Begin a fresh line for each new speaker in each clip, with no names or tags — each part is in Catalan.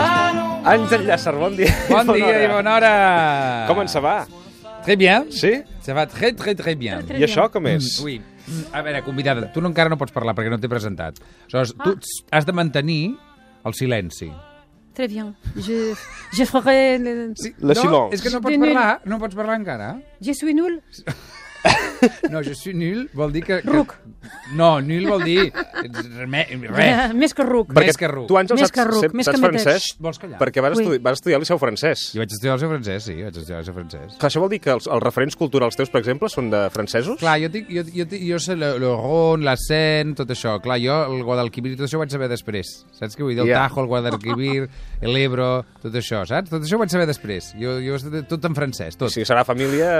Ah,
Àngel Llàcer, bon dia.
Bon dia et bona hora.
Com ens va?
Très bien.
Sí?
Ça va très, très, très bien.
I això com és?
Mm, Ui, a veure, convidada, tu no, encara no pots parlar perquè no t'he presentat. Aleshores, tu ts- has de mantenir el silenci.
Très bien. Je, je ferai. le-
Le
no,
silence.
És que no
De
pots
nul.
parlar, no pots parlar encara.
Je suis nul.
No, je suis nul vol dir que... que...
Ruc.
No, nul vol dir ets re, res.
Eh, Més que ruc.
Perquè- Més que ruc.
tu, Àngel,
Més
saps,
que ruc,
saps,
més
saps
que mateix.
francès?
Xxt, vols callar?
Perquè vas
Ui.
estudi vas estudiar al Liceu francès.
Jo vaig estudiar el seu francès, sí, vaig estudiar el seu francès.
Clar, això vol dir que els, els referents culturals teus, per exemple, són de francesos?
Clar, jo, tinc, jo, jo, tinc, jo sé le, le Rhône, la Seine, tot això. Clar, jo el Guadalquivir, tot això ho vaig saber després. Saps què vull dir? El
Ja.
yeah. Tajo, el Guadalquivir, l'Ebro, tot això, saps? Tot això ho vaig saber després. Jo, jo tot en francès, tot.
Sí, serà família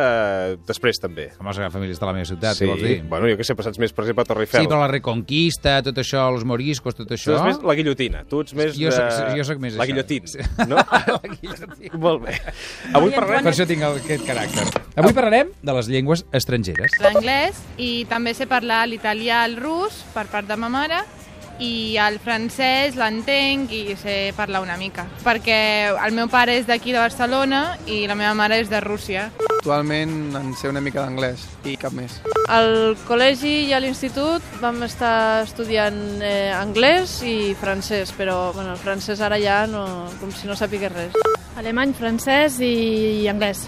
eh, després, també.
Home, la família està a la meva ciutat, sí. vols dir?
Bueno, jo què sé, passats més, per exemple, a Torre
Sí,
Eiffel.
però la Reconquista, tot això, els moriscos, tot
Tu
això...
ets més la guillotina. Tu ets més
Jo soc-
de...
jo soc més
La
això.
guillotina,
Sí.
no? Molt bé. Avui
Per
parlarem...
això tinc el- aquest caràcter. Avui parlarem de les llengües estrangeres.
l'anglès i també sé parlar l'italià, el rus, per part de ma mare, i el francès l'entenc i sé parlar una mica, perquè el meu pare és d'aquí de Barcelona i la meva mare és de Rússia.
Actualment en sé una mica d'anglès i cap més.
Al col·legi i a l'institut vam estar estudiant eh, anglès i francès, però bueno, el francès ara ja no, com si no sàpigués res.
Alemany, francès i anglès.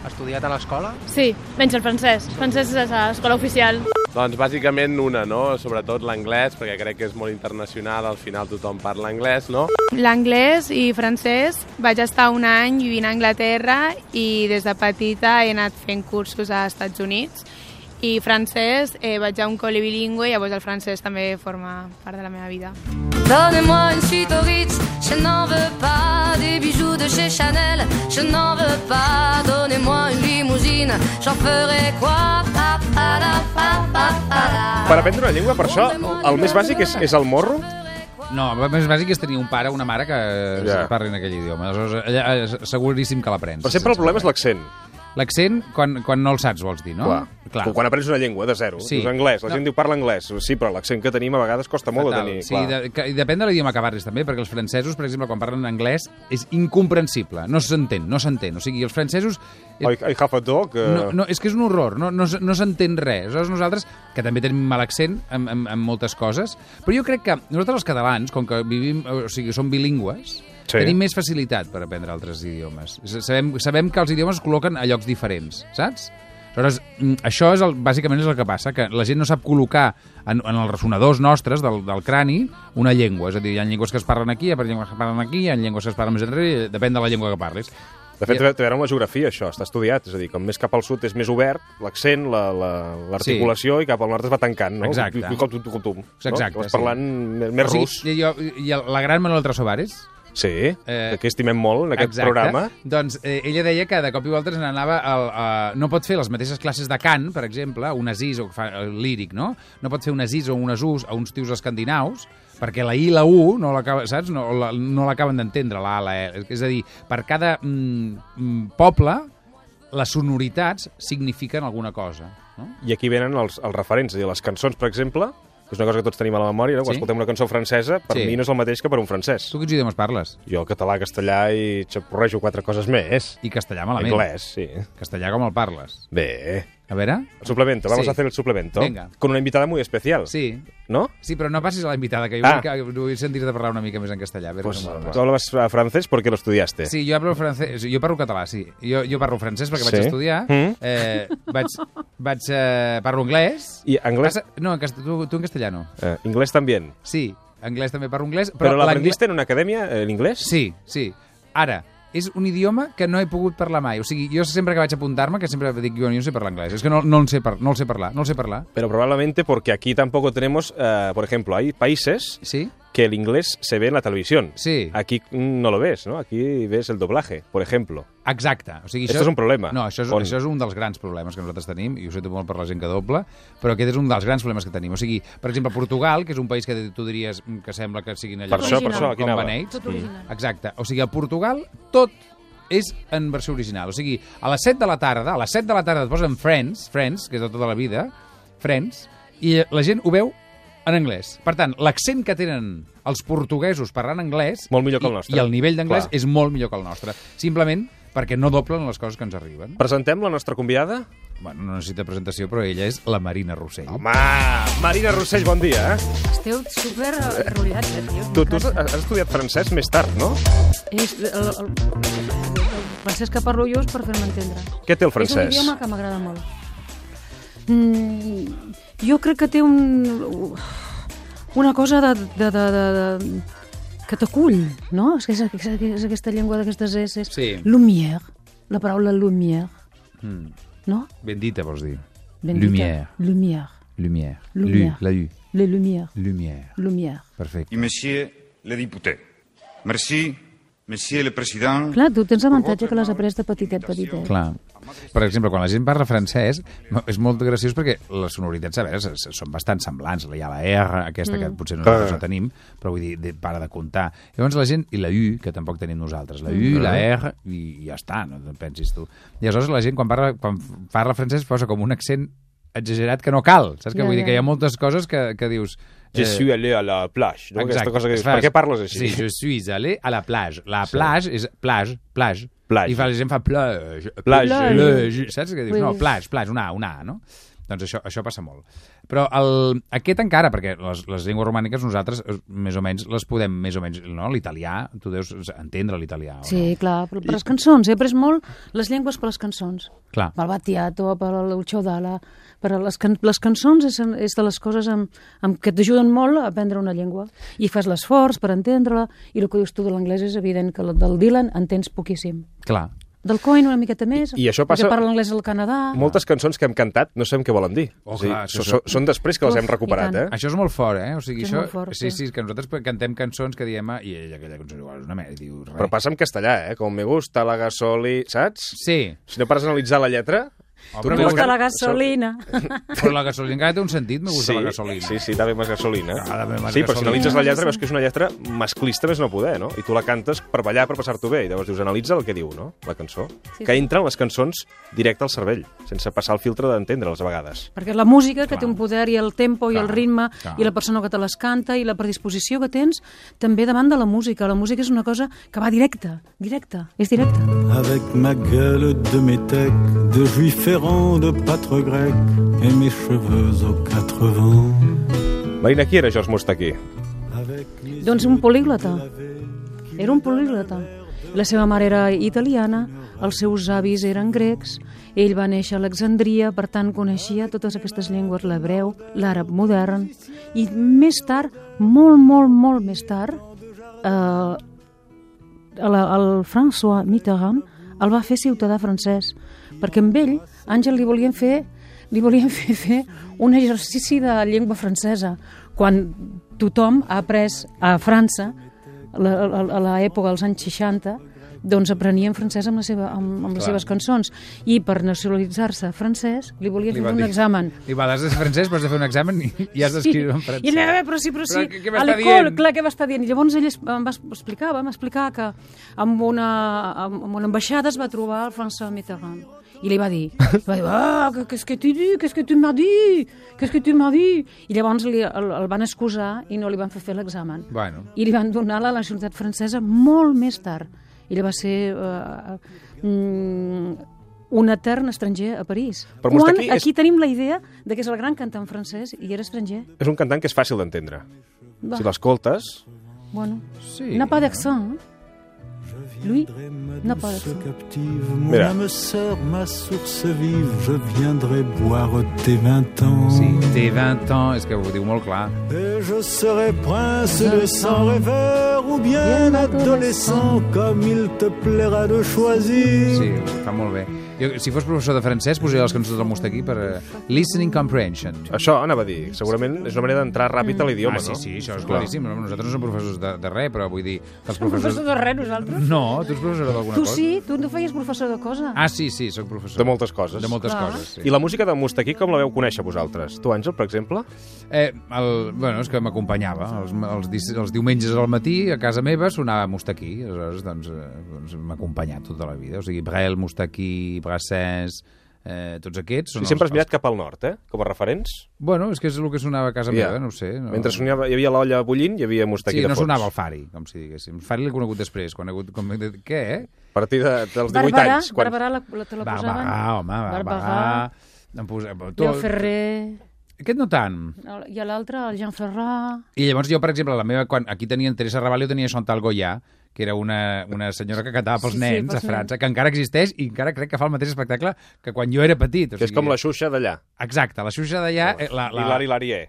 Estudiat a l'escola?
Sí, menys el francès. Francès és a l'escola oficial.
Doncs bàsicament una, no? Sobretot l'anglès, perquè crec que és molt internacional, al final tothom parla anglès, no?
L'anglès i francès. Vaig estar un any vivint a Anglaterra i des de petita he anat fent cursos a Estats Units. I francès, eh, vaig a un col·le bilingüe i llavors el francès també forma part de la meva vida.
Donnez-moi une suite au Ritz, je n'en veux pas des bijoux de chez Chanel, je n'en veux pas. Donnez-moi une limousine, j'en ferai quoi Pa, pa, da, pa, pa, pa, da.
Per aprendre una llengua, per això, el més bàsic és, és el morro.
No, el més bàsic és tenir un pare o una mare que
Ja.
ja. parlin aquell idioma. Aleshores, allà, eh, seguríssim que l'aprens.
Però sempre el problema és l'accent.
L'accent, quan, quan no el saps, vols dir, no?
Clar. Quan aprens una llengua de zero,
Ah, Sí.
sí. dius anglès, la
No.
gent diu parla anglès. Sí, però l'accent que tenim a vegades costa molt
Fatal.
de tenir.
Sí, de, que, i depèn de l'idioma que parlis, també, perquè els francesos, per exemple, quan parlen anglès, és incomprensible. No s'entén, no s'entén. O sigui, els francesos...
I, I have a dog... eh,
No, no, és que és un horror, no, no, s- no s'entén res. Aleshores, nosaltres, que també tenim mal accent en, en, en moltes coses, però jo crec que nosaltres els catalans, com que vivim, o sigui, som bilingües,
Sí.
sí. tenim més facilitat per aprendre altres idiomes. S- Sabem, sabem que els idiomes es col·loquen a llocs diferents, saps? Aleshores, mm, això és el, bàsicament és el que passa, que la gent no sap col·locar en, en els ressonadors nostres del, del crani una llengua. És a dir, hi ha llengües que es parlen aquí, hi ha llengües que es parlen aquí, hi ha llengües que es parlen més enrere, depèn de la llengua que parlis.
De fet, té a veure amb la geografia, això, està estudiat. És a dir, com més cap al sud és més obert, l'accent, la- la- l'articulació, la, sí. i cap al nord es va tancant, no?
Exacte.
Tu- tu- Com, tu, tu, com tu, no?
Exacte,
Vas
sí.
parlant més, més
o sigui,
rus.
I, jo, i el- la gran Manuel Trasovares,
Sí,
Eh,
eh... que estimem molt en aquest
Exacte.
programa.
Doncs eh, ella deia que de cop i volta se n'anava... Al, a, no pot fer les mateixes classes de cant, per exemple, un asís o que fa el líric, no? No pot fer un asís o un asus a uns tios escandinaus perquè la I i la U no l'acaba, saps? No, la, no l'acaben d'entendre, la A, la E. És a dir, per cada mm, mm, poble les sonoritats signifiquen alguna cosa, no?
I aquí venen els, els referents, és a dir, les cançons, per exemple, que és una cosa que tots tenim a la memòria, no? Quan
Sí.
escoltem una cançó francesa, per
Sí.
mi no és el mateix que per un francès.
Tu quins idiomes parles?
Jo català, castellà i xaporrejo quatre coses més.
I castellà malament.
Anglès, sí.
Castellà com el parles.
Bé,
A veure?
el suplemento, vamos
Sí.
a hacer el suplemento.
Venga.
Con una invitada muy especial,
Sí.
¿no?
Sí, però no passis a la invitada, que jo
Ah.
ah. vull sentir-te parlar una mica més en castellà. A veure
Pues,
com va.
tú hablabas eh, francés porque lo estudiaste.
Sí, jo parlo francès, jo parlo català, sí. Jo, jo parlo francès perquè vaig
Sí?
estudiar,
Mm.
eh, vaig, vaig eh, parlo anglès.
I anglès?
Passa- No, en castellà, tu, tu en castellano.
Eh, inglés también.
Sí, anglès també parlo anglès.
¿Pero,
Però,
lo
l'anglès-
aprendiste en una academia, eh, el inglés?
Sí, sí. Ara, és un idioma que no he pogut parlar mai. O sigui, jo sempre que vaig apuntar-me, que sempre dic jo no sé parlar anglès. És que no, no, el sé, par no el sé parlar, no el sé parlar.
Pero probablemente porque aquí tampoco tenemos, eh, por ejemplo, hay países
Sí?
que el inglés se ve en la televisión.
Sí.
Aquí mm, no lo ves, ¿no? Aquí ves el doblaje, por ejemplo.
Exacte. O sigui,
Això és un problema.
No, això és,
On?
això és un dels grans problemes que nosaltres tenim, i ho sento molt per la gent que doble, però aquest és un dels grans problemes que tenim. O sigui, per exemple, Portugal, que és un país que tu diries mm, que sembla que siguin allà...
Per això, per
original.
això, aquí
com
anava.
beneits.
Tot original.
Exacte. O sigui, a Portugal tot és en versió original. O sigui, a les 7 de la tarda, a les 7 de la tarda et posen Friends, Friends, que és de tota la vida, Friends, i la gent ho veu en anglès. Per tant, l'accent que tenen els portuguesos parlant anglès...
Molt millor que el nostre.
I, i el nivell d'anglès
Clar.
és molt millor que el nostre. Simplement perquè no doblen les coses que ens arriben.
Presentem la nostra convidada?
Bueno, no necessita presentació, però ella és la Marina Rossell.
Home, Marina Rossell, bon dia. Eh?
Esteu super enrotllats, eh, tio.
Tu, tu has, has estudiat francès més tard, no?
És el, el, el, el francès que parlo jo és per fer-me entendre.
Què té el
És un
francès?
idioma que m'agrada molt. Mm, jo crec que té un... una cosa de... de, de, de, de que t'acull, no? És, que és, és, és aquesta llengua d'aquestes S.
Sí.
Lumière, la paraula lumière,
Mm.
no?
Bendita, vols dir.
Bendita.
Lumière.
Lumière.
Lumière.
Lumière.
Lu, la U.
Les lumières.
Lumière.
Lumière.
Perfecte.
Et monsieur le député, merci, monsieur le président.
Clar, tu tens avantatge que l'has après de petitet, petitet.
Clar. Per exemple, quan la gent parla francès, no, és molt graciós perquè les sonoritats, a veure, s- s- són bastant semblants. Hi ha la R, aquesta que
Mm.
potser
Ah.
nosaltres no tenim, però vull dir, de, para de comptar. Llavors la gent, i la U, que tampoc tenim nosaltres, la U,
Mm.
la R, i ja està, no te'n pensis tu. I aleshores la gent, quan parla, quan parla francès, posa com un accent exagerat que no cal, saps? Que
Ja,
vull
ja.
dir que hi ha moltes coses que, que dius...
Je suis allé a la plage, no? Aquesta cosa que dius,
Es fa-
per què parles així?
Sí, je suis allé a la plage. La
Sí.
plage és plage, plage.
Plage.
I fa, la gent fa plage,
Plage.
plage. Saps què dius?
Ui.
No, plage, plage, una A, una A, no? Doncs això, això passa molt. Però el, aquest encara, perquè les, les llengües romàniques nosaltres eh, més o menys les podem més o menys, no? L'italià, tu deus entendre l'italià. o
Sí, clar, però per les cançons, he après molt les llengües per les cançons.
Clar.
Pel Battiato, per el Chodala, per les, can les cançons és, és de les coses amb, amb que t'ajuden molt a aprendre una llengua. I fas l'esforç per entendre-la, i el que dius tu de l'anglès és evident que el del Dylan entens poquíssim.
Clar.
Del Coin una miqueta més,
I- i això passa-
perquè parla anglès al Canadà...
Moltes cançons que hem cantat no sabem què volen dir.
Oh,
O sigui,
clar, això
so- so-
és-
són després que les hem
Uf,
recuperat, eh?
Això és molt fort, eh? O sigui,
Això és
això,
molt fort,
sí,
sí.
sí, és que nosaltres cantem cançons que diem "Ah, i ella, aquella cançó igual és una merda, i dius res.
Però passa en castellà, eh? Com me gusta la gasoli, saps?
Sí.
Si no pares a analitzar la lletra... tu
Me
tens
gusta
can-
la gasolina.
Però la gasolina encara té un sentit, me gusta
Sí,
la gasolina.
sí, sí, també més gasolina.
Ah, dame más
sí, però si
gasolina.
analitzes la lletra veus que és una lletra masclista més no poder, no? I tu la cantes per ballar, per passar-t'ho bé. I llavors dius, analitza el que diu, no?, la cançó.
Sí,
que
sí.
entren les cançons directe al cervell, sense passar el filtre d'entendre'ls a vegades.
Perquè la música, que té un poder, i el tempo, i el ritme,
clar.
i la persona que te les canta, i la predisposició que tens, també davant de la música. La música és una cosa que va directa, directa, és directa.
Avec ma gueule de métèque, de juif errant, de pâtre grec, et mes cheveux aux quatre vents.
Marina, qui era George Mustaquí?
Doncs un políglota. Era un políglota. La seva mare era italiana, els seus avis eren grecs, ell va néixer a Alexandria, per tant coneixia totes aquestes llengües, l'hebreu, l'àrab modern, i més tard, molt, molt, molt més tard, eh, el, el François Mitterrand el va fer ciutadà francès, perquè amb ell, Àngel, li volien fer li volien fer, fer un exercici de llengua francesa, quan tothom ha après a França, la- a- a l'època dels anys 60, doncs aprenien francès amb, la seva, amb, amb les
Clar.
seves cançons. I per nacionalitzar-se francès li volien
Li
fer
van
un
dir-
examen.
Li va, has de ser francès, però has de fer un examen i, i has d'escriure en francès.
I anava, però sí, però sí,
Però què- què
a
m'està
l'alcohol,
dient?
clar, què m'està dient? I llavors ell es- em va explicar, vam explicar que amb una, amb amb una ambaixada es va trobar el François Mitterrand. I li va dir, li va dir, ah, que- qu'est-ce que tu dis, qu'est-ce que tu m'as dit, qu'est-ce que tu m'as dit. I llavors li, el, el van excusar i no li van fer fer l'examen.
Bueno.
I li van donar la nacionalitat francesa molt més tard. Ella va ser eh, mm, un etern estranger a París.
Però
Quan
Moustaki
aquí
és-
tenim la idea de que és el gran cantant francès i era estranger.
És un cantant que és fàcil d'entendre.
Va.
Si l'escoltes,
Bueno,
sí,
n'a pas d'accent. hein. Lui n'a pas
Se
d'accent.
captive, mon
Mira.
âme sœur, ma source vive, je viendrai boire tes vingt ans.
Sí, té 20 ans, és que ho diu molt clar.
Et je serai prince de sang rêveur ou bien adolescent, comme il te plaira de choisir.
Sí, ho fa molt bé. Jo, si fos professor de francès, posaria les cançons del Mustaquí per eh, listening comprehension.
Això anava a dir. Segurament és una manera d'entrar
Mm.
ràpid a l'idioma,
ah, sí,
no?
sí, això és claríssim. Nosaltres no som professors de, de res, però vull dir... Que els
Professor de res, nosaltres?
No, tu ets professor d'alguna
Tu
cosa?
sí, tu no feies professor de cosa.
Ah, sí, sí, sóc professor.
De moltes coses.
De moltes
Clar.
coses, sí.
I la música de Mustaquí com la veu conèixer vosaltres? Tu, Àngel, per exemple?
Eh, el, bueno, és que m'acompanyava. Els, els, dis- els diumenges al matí, a casa meva, sonava Mustaquí. Aleshores, doncs, eh, doncs m'ha acompanyat tota la vida. O sigui, Brel, Mustaquí, Brassens, Eh, tots aquests són
Sí, sempre
els,
has mirat cap al nord, eh? Com a referents.
Bueno, és que és el que sonava a casa
Ja.
meva, eh? no ho sé. No...
Mentre sonava, hi havia l'olla bullint, hi havia Mustaki
Sí,
de
no
fons.
sonava el Fari, com si diguéssim. El Fari l'he conegut després, quan he hagut... Com... Què?
A partir de, dels 18
Barberà,
anys. Quan...
Barberà la, la, te la
Barberà,
posaven.
home, Barberà.
Barberà.
Em posa...
Tot... El Ferrer,
Aquest no tant.
el- i l'altre, el Jean Ferrat...
I llavors jo, per exemple, la meva, quan aquí tenia en Teresa Raval, jo tenia Chantal Goya, que era una, una senyora que cantava pels
Sí, sí,
nens
pels
a França, que encara existeix i encara crec que fa el mateix espectacle que quan jo era petit. O
Que és com la Xuxa d'allà.
Exacte, la Xuxa d'allà... eh, La, la...
Hilari Larié.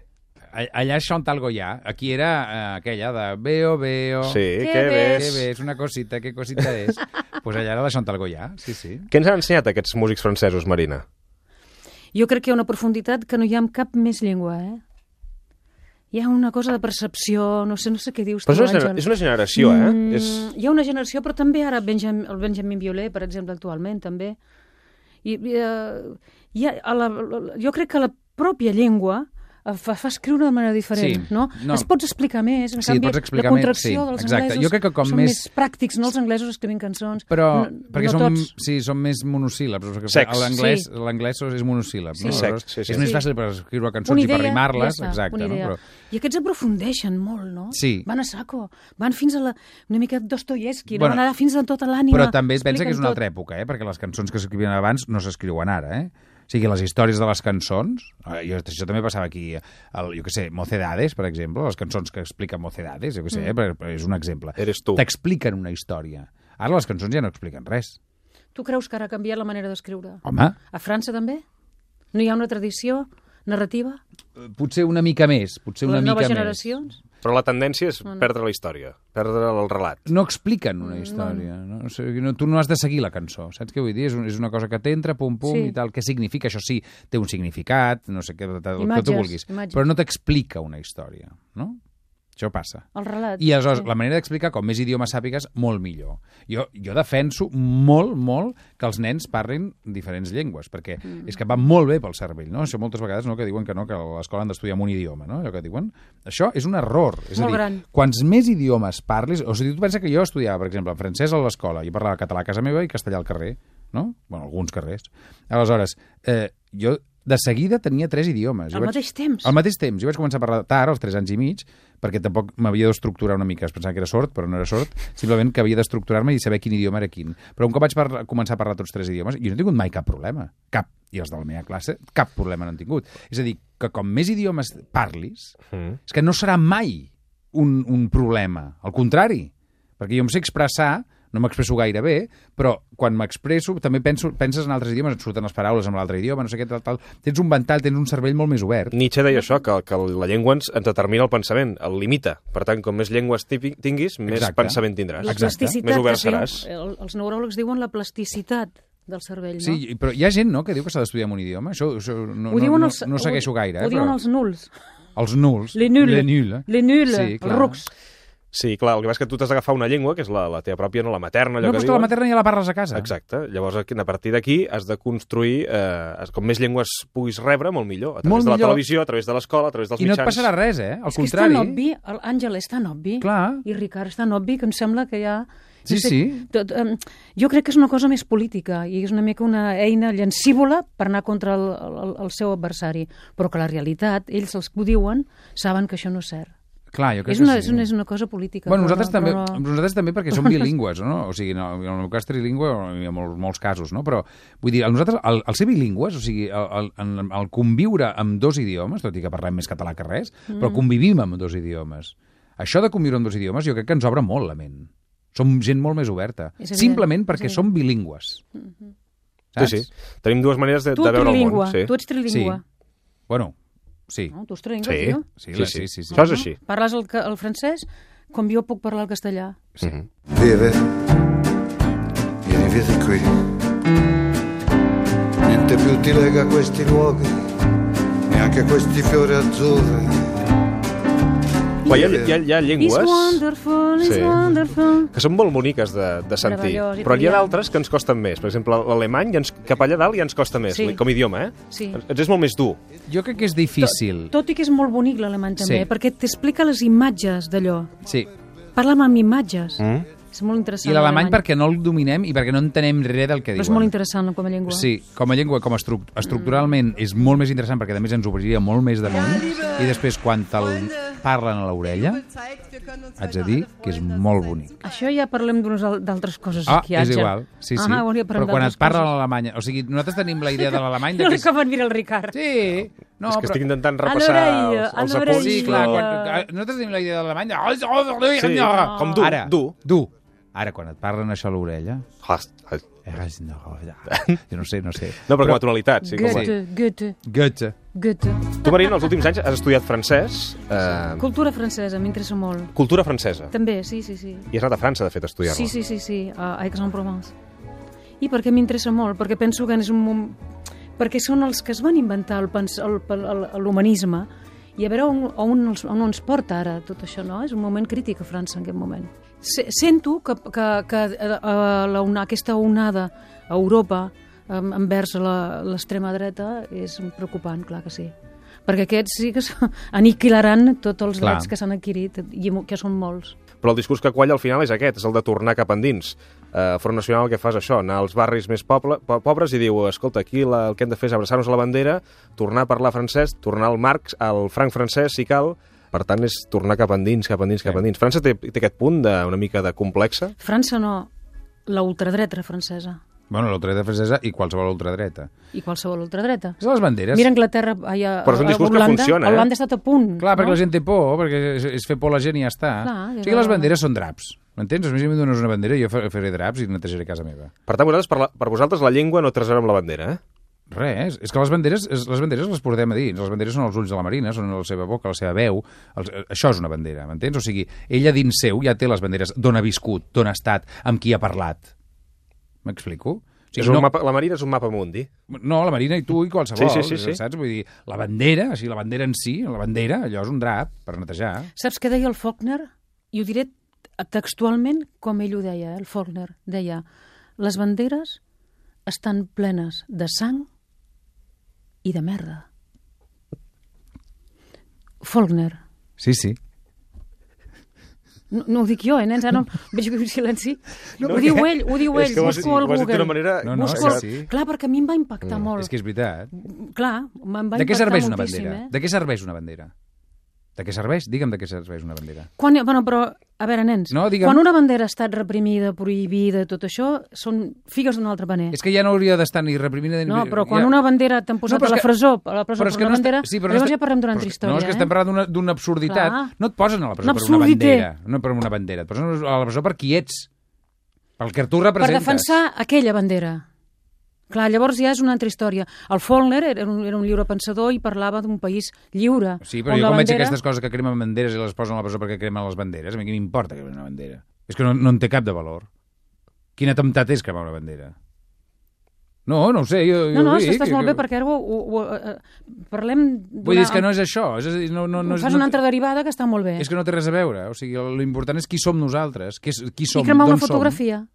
a- Allà és Chantal Goya, aquí era eh, aquella de veo, veo...
Sí, Que què ves?
Que Oh. ves, una cosita, que cosita és. Doncs pues allà era la Chantal Goya, sí, sí.
Què ens han ensenyat aquests músics francesos, Marina?
Jo crec que hi ha una profunditat que no hi ha en cap més llengua, eh? Hi ha una cosa de percepció, no sé, no sé què dius.
Però
tu,
és una,
Àngel.
gener- és una generació, eh?
Mm,
És...
Hi ha una generació, però també ara Benjam, el Benjamin Violet, per exemple, actualment, també. I, i, eh, hi ha, a la, la- jo crec que la pròpia llengua eh, fa, fa escriure de manera diferent,
Sí,
no?
no.
Es pots explicar més, en
Sí,
canvi,
pots explicar
la
més,
contracció
sí,
dels
exacte.
anglesos
Jo crec que com
són
més-
més... pràctics, no? Els anglesos escrivint cançons.
Però,
no,
perquè
no
som,
tots.
sí, som més monosíl·labs. o sigui,
Secs.
L'anglès
Sí.
l'anglès és monosíl·lab.
Sí.
No?
Secs,
Aleshores,
sí, sí.
És més
Sí.
fàcil per escriure cançons
Una
i per
idea,
rimar-les.
ja està,
exacte,
una
no?
idea.
Però,
I aquests aprofundeixen molt, no?
Sí.
Van a saco, van fins a la, una mica Dostoyevski,
Bueno,
bueno, no? van anar fins a tota l'ànima.
però també es pensa que és
expliquen
una
tot.
altra època, eh? perquè les cançons que s'escrivien abans no s'escriuen ara. Eh? O sigui, les històries de les cançons, eh, jo, això també passava aquí, el, jo què sé, Mocedades, per exemple, les cançons que explica Mocedades, jo què sé,
Mm.
eh? per- per- és un exemple.
Eres tu.
T'expliquen una història. Ara les cançons ja no expliquen res.
Tu creus que ara ha canviat la manera d'escriure?
Home.
A França també? No hi ha una tradició narrativa?
Potser una mica més, potser una
Les
mica
noves
més.
generacions?
Però la tendència és
Bueno.
perdre la història, perdre el relat.
no expliquen
Mm,
una història. No? O sigui, no, tu no has de seguir la cançó, saps què vull dir? És, un, és una cosa que t'entra, pum, pum,
Sí.
sí. i tal. Què significa? Això sí, té un significat, no sé què, el que tu
Imatges,
vulguis.
imatges.
Però no t'explica una història, no? Això passa.
El relat.
I aleshores,
sí.
la manera d'explicar, com més idiomes sàpigues, molt millor. Jo, jo defenso molt, molt que els nens parlin diferents llengües, perquè mm. és que va molt bé pel cervell, no? Això moltes vegades, no?, que diuen que no, que a l'escola han d'estudiar amb un idioma, no?, allò que diuen. Això és un error. És a dir,
Molt gran.
quants més idiomes parlis... O sigui, tu pensa que jo estudiava, per exemple, en francès a l'escola, jo parlava català a casa meva i castellà al carrer, no? Bueno, alguns carrers. Aleshores, eh, jo de seguida tenia tres idiomes. Jo
Al mateix temps?
Al mateix temps. Jo vaig començar a parlar tard, als 3 anys i mig, perquè tampoc m'havia d'estructurar una mica. Es pensava que era sort, però no era sort. Simplement que havia d'estructurar-me i saber quin idioma era quin. Però un cop vaig parlar, començar a parlar tots tres idiomes, jo no he tingut mai cap problema. Cap. I els de la meva classe, cap problema no han tingut. És a dir, que com més idiomes parlis,
Mm.
és que no serà mai un, un problema. Al contrari, perquè jo em sé expressar, no m'expresso gaire bé, però quan m'expresso també penso, penses en altres idiomes, et surten les paraules en l'altre idioma, no sé què, tal, tal. Tens un ventall, tens un cervell molt més obert.
Nietzsche deia això, que, que la llengua ens, ens determina el pensament, el limita. Per tant, com més llengües tipi- tinguis, més
Exacte.
pensament tindràs.
La plasticitat.
Més obert
que es diu.
seràs.
El, els neuròlegs diuen la plasticitat del cervell, no?
Sí, i- però hi ha gent, no?, que diu que s'ha d'estudiar en un idioma. Això, això no,
Ho
no,
diuen
no,
els-
no segueixo gaire,
Ho
eh,
diuen
però...
els nuls.
Els nuls.
Les nuls.
Les nuls. eh?
Les nuls,
Sí,
els
clar.
rucs.
Sí, clar, el que passa és que tu t'has d'agafar una llengua, que és la, la teva pròpia, no la materna, allò que
No, però és que
diuen.
la materna ja la parles a casa.
Exacte. Llavors, aquí- a partir d'aquí, has de construir... Eh, com més llengües puguis rebre, molt millor. A través
Molt
de la
millor.
televisió, a través de l'escola, a través dels
I no et
mitjans...
passarà res, eh? Al
És que és
contrari...
tan obvi, l'Àngel és tan obvi,
Clar.
i Ricard és tan obvi, que em sembla que ja...
Sí, sí.
Tot, um, jo crec que és una cosa més política i és una mica una eina llancívola per anar contra el, el, el seu adversari. Però que la realitat, ells els que ho diuen, saben que això no és cert.
Clar, jo crec
És una,
que sí.
és, una, és una cosa política.
Bueno,
però
nosaltres,
no,
també,
però no.
nosaltres també perquè som bilingües, no? O sigui, no, en el meu cas trilingüe, hi ha molts, molts casos, no? Però, vull dir, el, nosaltres, el, el ser bilingües, o sigui, el, el, el conviure amb dos idiomes, tot i que parlem més català que res, mm. però
Mm.
convivim amb dos idiomes. Això de conviure amb dos idiomes jo crec que ens obre molt la ment. Som gent molt més oberta.
És evident, Mm-hmm.
Simplement
és
perquè
evident.
som bilingües.
Sí,
Saps?
sí. Tenim dues maneres de,
Tu
de veure el
trilingüe,
món. Sí.
tu ets trilingüe.
Sí. Bueno, sí.
No, tu ets trilingüe,
Sí.
tio.
Sí, la- sí, sí, sí.
Això és així.
Parles el, ca- el francès com jo puc parlar el castellà.
Sí. Mm -hmm.
Vive, vieni via di qui. Niente più ti lega a questi luoghi, neanche a questi fiori azzurri.
Clar, hi ha, hi ha, hi ha llengües...
It's wonderful, it's
Sí.
wonderful.
que són molt boniques de, de sentir,
Meravellós, i
però n'hi ha
brillant.
d'altres que ens costen més. Per exemple, l'alemany, ja ens, cap allà dalt, ja ens costa més,
Sí.
com a idioma, eh?
Sí.
Ens- Ens és molt més dur.
Jo crec que és difícil.
Tot i que és molt bonic l'alemany també,
Sí.
perquè t'explica les imatges d'allò.
Sí.
Parla'm amb imatges.
Mm?
És molt interessant.
I l'alemany perquè no el dominem i perquè no entenem res del que diuen.
Però és molt interessant com a llengua. Mm.
Sí, com a llengua, com a estru estructuralment, és molt més interessant perquè, a més, ens obriria molt més damunt i després, quan te'l parlen a l'orella, haig de dir que és molt bonic.
Això ja parlem d'unes al- d'altres coses
Ah,
aquí,
és
Àngel.
igual, sí, sí.
Ah, volia
però
parlar
quan et
d'altres
parlen
coses.
l'alemany... O sigui, nosaltres tenim la idea de l'alemany... de
No
que
li
és-
acaben mirar el Ricard.
Sí. No,
és que estic intentant
A
repassar
l'orella,
els,
a
els
l'orella.
apunts.
Sí, clar,
però-
quan, eh, nosaltres tenim la idea de l'alemany... de-
Sí, com dur,
Ara,
dur.
dur. Ara, quan et parlen això a l'orella... eh, Jo no sé, no sé.
No, però com a tonalitat, sí. Com a...
Goethe, Goethe,
Goethe.
Goethe.
Tu, Marina, els últims anys has estudiat francès, eh,
Cultura francesa, m'interessa molt.
cultura francesa.
També, sí, sí, sí.
I has anat a França, de fet, a estudiar-la.
Sí, sí, sí, sí, Ah, a a Aix-en-Provence. I per què m'interessa molt? Perquè penso que és un mom... Perquè són els que es van inventar el pens- el- el- l'humanisme i a veure on, on, els- on ens porta ara tot això, no? És un moment crític a França en aquest moment. Se, sento que, que, que eh, eh, la, una, aquesta onada a Europa eh, envers la- l'extrema dreta és preocupant, clar que sí. Perquè aquests sí que s- aniquilaran tots els
Clar.
drets que s'han adquirit, i mo- que són molts.
Però el discurs que qualla al final és aquest, és el de tornar cap endins. Uh, Front Nacional el que fa és això, anar als barris més poble, po pobres i diu, escolta, aquí la, el que hem de fer és abraçar-nos a la bandera, tornar a parlar francès, tornar al Marx, al franc francès, si cal, per tant, és tornar cap endins, cap endins, cap endins. França té, té aquest punt de, una mica de complexa?
França no, la ultradreta francesa
Bueno, l'ultradreta francesa i qualsevol ultradreta.
i qualsevol ultradreta.
És les banderes.
Mira Anglaterra, ai, a,
Però és un
a
discurs que
Holanda,
funciona, eh?
Holanda ha estat a punt.
Clar, perquè
no?
la gent té por, perquè és, és fer por a la gent i ja està.
Clar,
o
ja
sigui que les
va.
banderes són draps. M'entens? A mi si em dones una bandera, jo fa- faré draps i netejaré casa meva.
Per tant, vosaltres, per, la, per vosaltres la llengua no trasera amb la bandera, eh?
Res, és que les banderes, és- les banderes les portem a dins, les banderes són els ulls de la Marina, són la seva boca, la seva veu, els, eh, això és una bandera, m'entens? O sigui, ella dins seu ja té les banderes d'on ha viscut, d'on ha estat, amb qui ha parlat. M'explico? O
és un no... mapa, la Marina és un mapa mundi.
No, la Marina i tu i qualsevol,
Sí, sí, sí, sí.
saps? Vull dir, la bandera, així, la bandera en si, la bandera, allò és un drap per netejar.
Saps què deia el Faulkner? I ho diré textualment com ell ho deia, eh? el Faulkner. Deia, les banderes estan plenes de sang i de merda. Faulkner.
Sí, sí.
No, no ho dic jo, eh, nens? Ara no, veig que un silenci. No, ho diu
perquè-
ell, ho diu
és
ell.
que ho has dit-
Busco al
ho has dit
Google.
d'una manera- No, no,
Busco...
és que sí.
Clar, perquè a mi em va impactar mm. molt.
És que és veritat.
Clar, em va
De què
impactar
serveix una
moltíssim,
bandera?
Eh?
De què serveix una bandera? De què serveix? Digue'm de què serveix una bandera.
Quan, bueno, però, a veure, nens,
No, digue'm.
quan una bandera ha estat reprimida, prohibida, tot això, són figues d'un altre paner.
És que ja no hauria d'estar ni reprimida ni...
No, però quan una bandera t'han posat
però
a la
és que-
presó, a la presó
però
per
és que
una
no està-
bandera,
sí, però no
llavors
està-
ja parlem d'una altra
però-
història,
No, és que
eh?
estem parlant d'una- d'una absurditat.
Clar.
No et posen a la presó
Un
per una
absurdité.
bandera. No per una bandera. Et posen a la presó per qui ets. Pel que tu
per
representes.
defensar aquella bandera. Clar, llavors ja és una altra història. El Follner era un, era un lliure pensador i parlava d'un país lliure.
Sí, però
on
jo
la
quan veig
bandera-
aquestes coses que cremen banderes i les posen a la presó perquè cremen les banderes, a mi què m'importa cremen una bandera? És que no, no en té cap de valor. Quin atemptat és cremar una bandera? No, no ho sé, jo,
No,
jo
no,
ho dic.
estàs molt bé
que-
perquè ara ho, ho, ho, eh, parlem...
Vull dir, és que no és això. És, a dir, no, no, no, és-
Fas
no,
una altra derivada que està molt bé.
És que no té res a veure. O sigui, l'important és qui som nosaltres, qui, és- qui som,
I cremar
d'on
una fotografia.
som.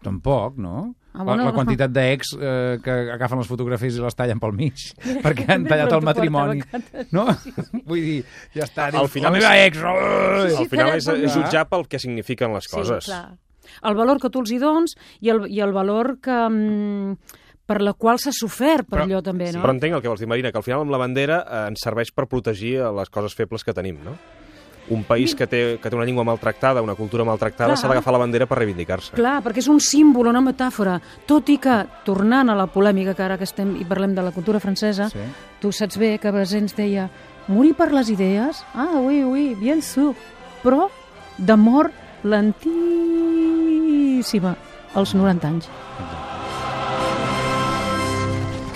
Tampoc, no?
Ah, bueno,
la, la
no.
quantitat d'ex eh, que agafen les fotografies i les tallen pel mig
Mira,
perquè han
també
tallat
porto
el matrimoni.
porta
No? Vull dir, ja està.
Al
dius,
final
la
és-
meva ex... no,
Sí,
eh.
sí, Al final és- és jutjar pel que signifiquen les coses.
Sí, clar. eh, El valor que tu els hi dons i el, i el valor que... Mm, per la qual s'ha sofert per allò també, no?
Però entenc el que vols dir, Marina, que al final amb la bandera eh, ens serveix per protegir eh, les coses febles que tenim, no? Un país que té, que té una llengua maltractada, una cultura maltractada,
Clar.
s'ha d'agafar la bandera per reivindicar-se.
Clar, perquè és un símbol, una metàfora. Tot i que, tornant a la polèmica que ara que estem i parlem de la cultura francesa,
Sí.
tu saps bé que Basens deia morir per les idees? Ah, oui, oui, bien sûr. Però de mort lentíssima, als 90 anys.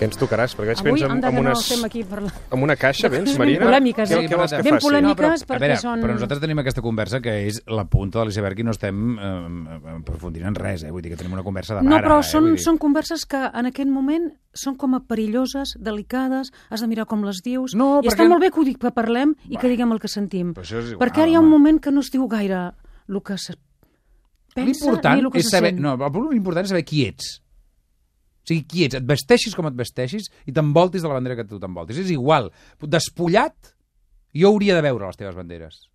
Què ens tocaràs? Perquè veig que
Avui
vens
hem
amb,
de
amb,
no
unes,
estem aquí parlant.
amb una caixa, vens,
Ben
Marina?
polèmiques,
Què,
eh?
què vols que
Ben
faci?
polèmiques
a
perquè
veure,
són-
Però nosaltres tenim aquesta conversa que és la punta de l'iceberg i no estem eh, aprofundint en res, eh? Vull dir que tenim una conversa de mare.
No, però
eh?
són,
Vull dir-
són converses que en aquest moment són com a perilloses, delicades, has de mirar com les dius, no, i
perquè-
està molt bé que, ho dic, que parlem i que diguem el que sentim.
Però això és igual,
perquè ara hi ha
home.
un moment que no es diu gaire el que se pensa ni
L'important
el que
és
se
saber...
sent.
No, el problema important és saber qui ets. O sigui, qui ets? Et vesteixis com et vesteixis i t'envoltis de la bandera que tu t'envoltis. És igual. Despullat, jo hauria de veure les teves banderes.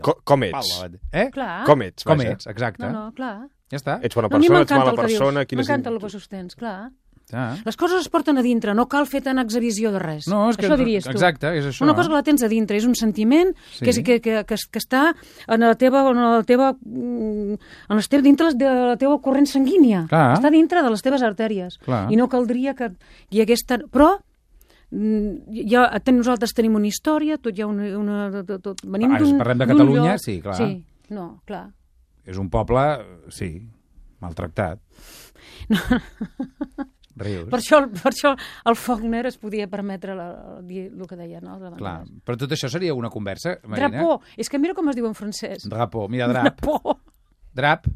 Co com ets?
Eh?
Clar.
Com ets,
Com eh?
vaja.
ets, exacte.
No, no, clar.
Ja està.
Ets bona
a mi
persona, ets
m'encanta
mala
el que dius,
persona... quines
M'encanta el
in-
que sostens, clar.
Ah.
Les coses es porten a dintre, no cal fer tan exhibició de res.
No, és que-
això diries tu.
exacte, és això.
Una cosa que la tens a dintre, és un sentiment
Sí.
sí. que, és, que, que, que, que està en la teva, en la teva, mm, en les teves, dintre les de la teva corrent sanguínia.
Clar.
Està dintre de les teves artèries.
Clar.
I no caldria que hi hagués tan... Però mm, ja ten, nosaltres tenim una història, tot hi ha una... una tot, tot, venim
Ara, Ah, si
d'un
parlem de
d'un
Catalunya,
lloc.
sí, clar.
Sí, no, clar.
És un poble, eh, sí, maltractat. No. Rius.
Per això, el- per això el Faulkner es podia permetre la, dir el que deia, no? de
Clar. Però tot això seria una conversa, Marina?
Drapó. És que mira com es diu en francès.
Drapó, mira, drap.
Drapó.
Drap.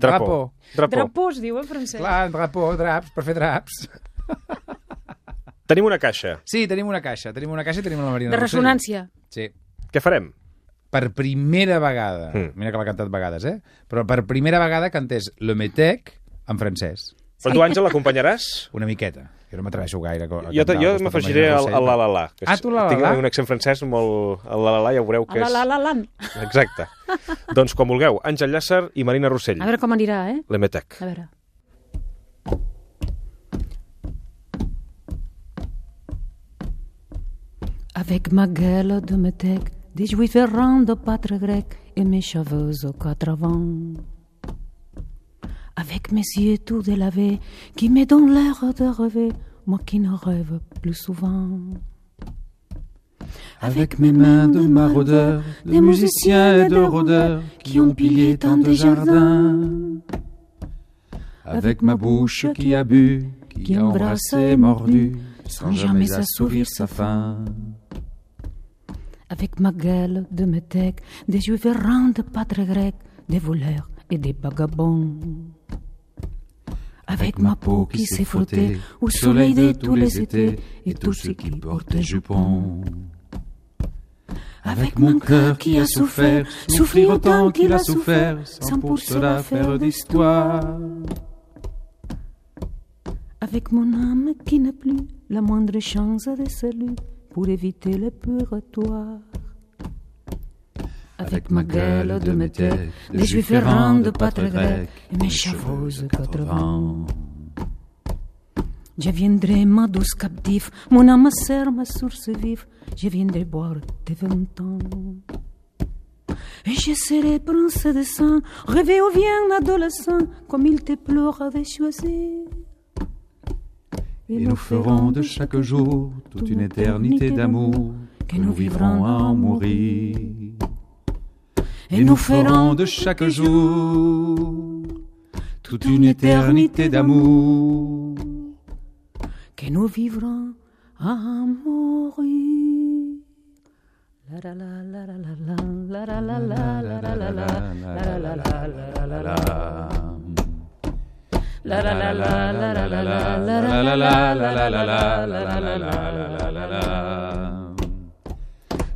Drapó. Drapó.
Drapó es diu en francès.
Clar, drapó, draps, per fer draps.
Tenim una caixa.
Sí, tenim una caixa, tenim una caixa i tenim la Marina.
De
Rossell.
ressonància.
Sí.
Què farem?
Per primera vegada,
Hmm.
mm. mira que l'ha cantat vegades, eh? Però per primera vegada cantés Le Metec en francès.
Però tu, Àngel, l'acompanyaràs?
Una miqueta. Jo no m'atreveixo gaire a co- a
Jo, te-
cantar
jo
al costat de
m'afegiré
Marina
al,
Rossell,
al la
però-
la la. que
Ah,
és-
tu la la
Tinc
la?
un accent francès molt... El la la la ja veureu que
La, la,
és...
la, la.
Exacte. doncs com vulgueu, Àngel Llàcer i Marina Rossell.
A veure com anirà, eh?
L'Emetec.
A veure. Avec ma gueule de métèque, des juifs errants de pâtre grec et mes cheveux aux quatre vents. Avec mes yeux tout délavés qui me donnent l'air de rêver, moi qui ne rêve plus souvent.
Avec mes mains de maraudeurs, de musiciens et de rôdeurs qui ont pillé tant de jardins. Avec ma bouche qui a bu, qui a embrassé et mordu, sans jamais assouvir sa faim.
Avec ma gueule de métèque, des juifs errants de pâtre grec, des voleurs et des vagabonds. Avec ma peau qui s'est frottée au soleil de tous les étés et tous ceux qui portent des jupons.
Avec mon cœur qui a souffert, souffrir autant qu'il a souffert, sans pour cela faire d'histoire.
Avec mon âme qui n'a plus la moindre chance de salut pour éviter le purgatoire.
Avec ma gueule de métèque,
Des
des
juifs
juifs
errants
errants
de
de
pâtre
pâtre
grec
grec,
et mes chevaux aux quatre
vents.
Je viendrai, ma douce captive, mon âme sœur, ma source vive, je viendrai boire tes vingt ans. Et je serai prince de sang, rêver au vient adolescent, comme il te pleure de choisir.
Et nous ferons de chaque jour toute une éternité d'amour que nous vivrons à en mourir. Et nous ferons de chaque jour toute une éternité d'amour.
que nous vivrons à mourir. La la la la la la la la la la la la la la.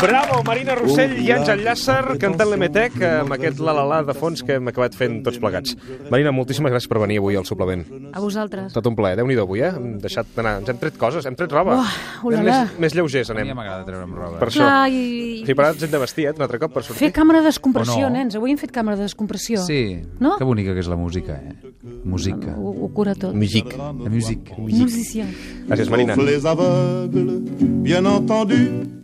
Bravo, Marina Rossell i Àngel Llàcer cantant l'Emetec amb aquest la la la de fons que hem acabat fent tots plegats. Marina, moltíssimes gràcies per venir avui al suplement.
A vosaltres.
Tot un plaer, déu nhi avui, eh? Hem deixat d'anar, ens hem tret coses, hem tret roba.
Uah,
Anem
ulala.
més, més lleugers anem.
A mi m'agrada treure'm roba.
Per això.
Clar, i-
Sí, però ara ens hem de vestir, eh, un altre cop per sortir.
Fer càmera de descompressió,
O no.
nens. Avui hem fet càmera de descompressió.
Sí,
No?
que bonica que és la música, eh? Música.
Ho, ho cura tot.
Musique.
La música.
Musicien.
Gràcies, Marina.
Sauf les aveugles, bien entendu,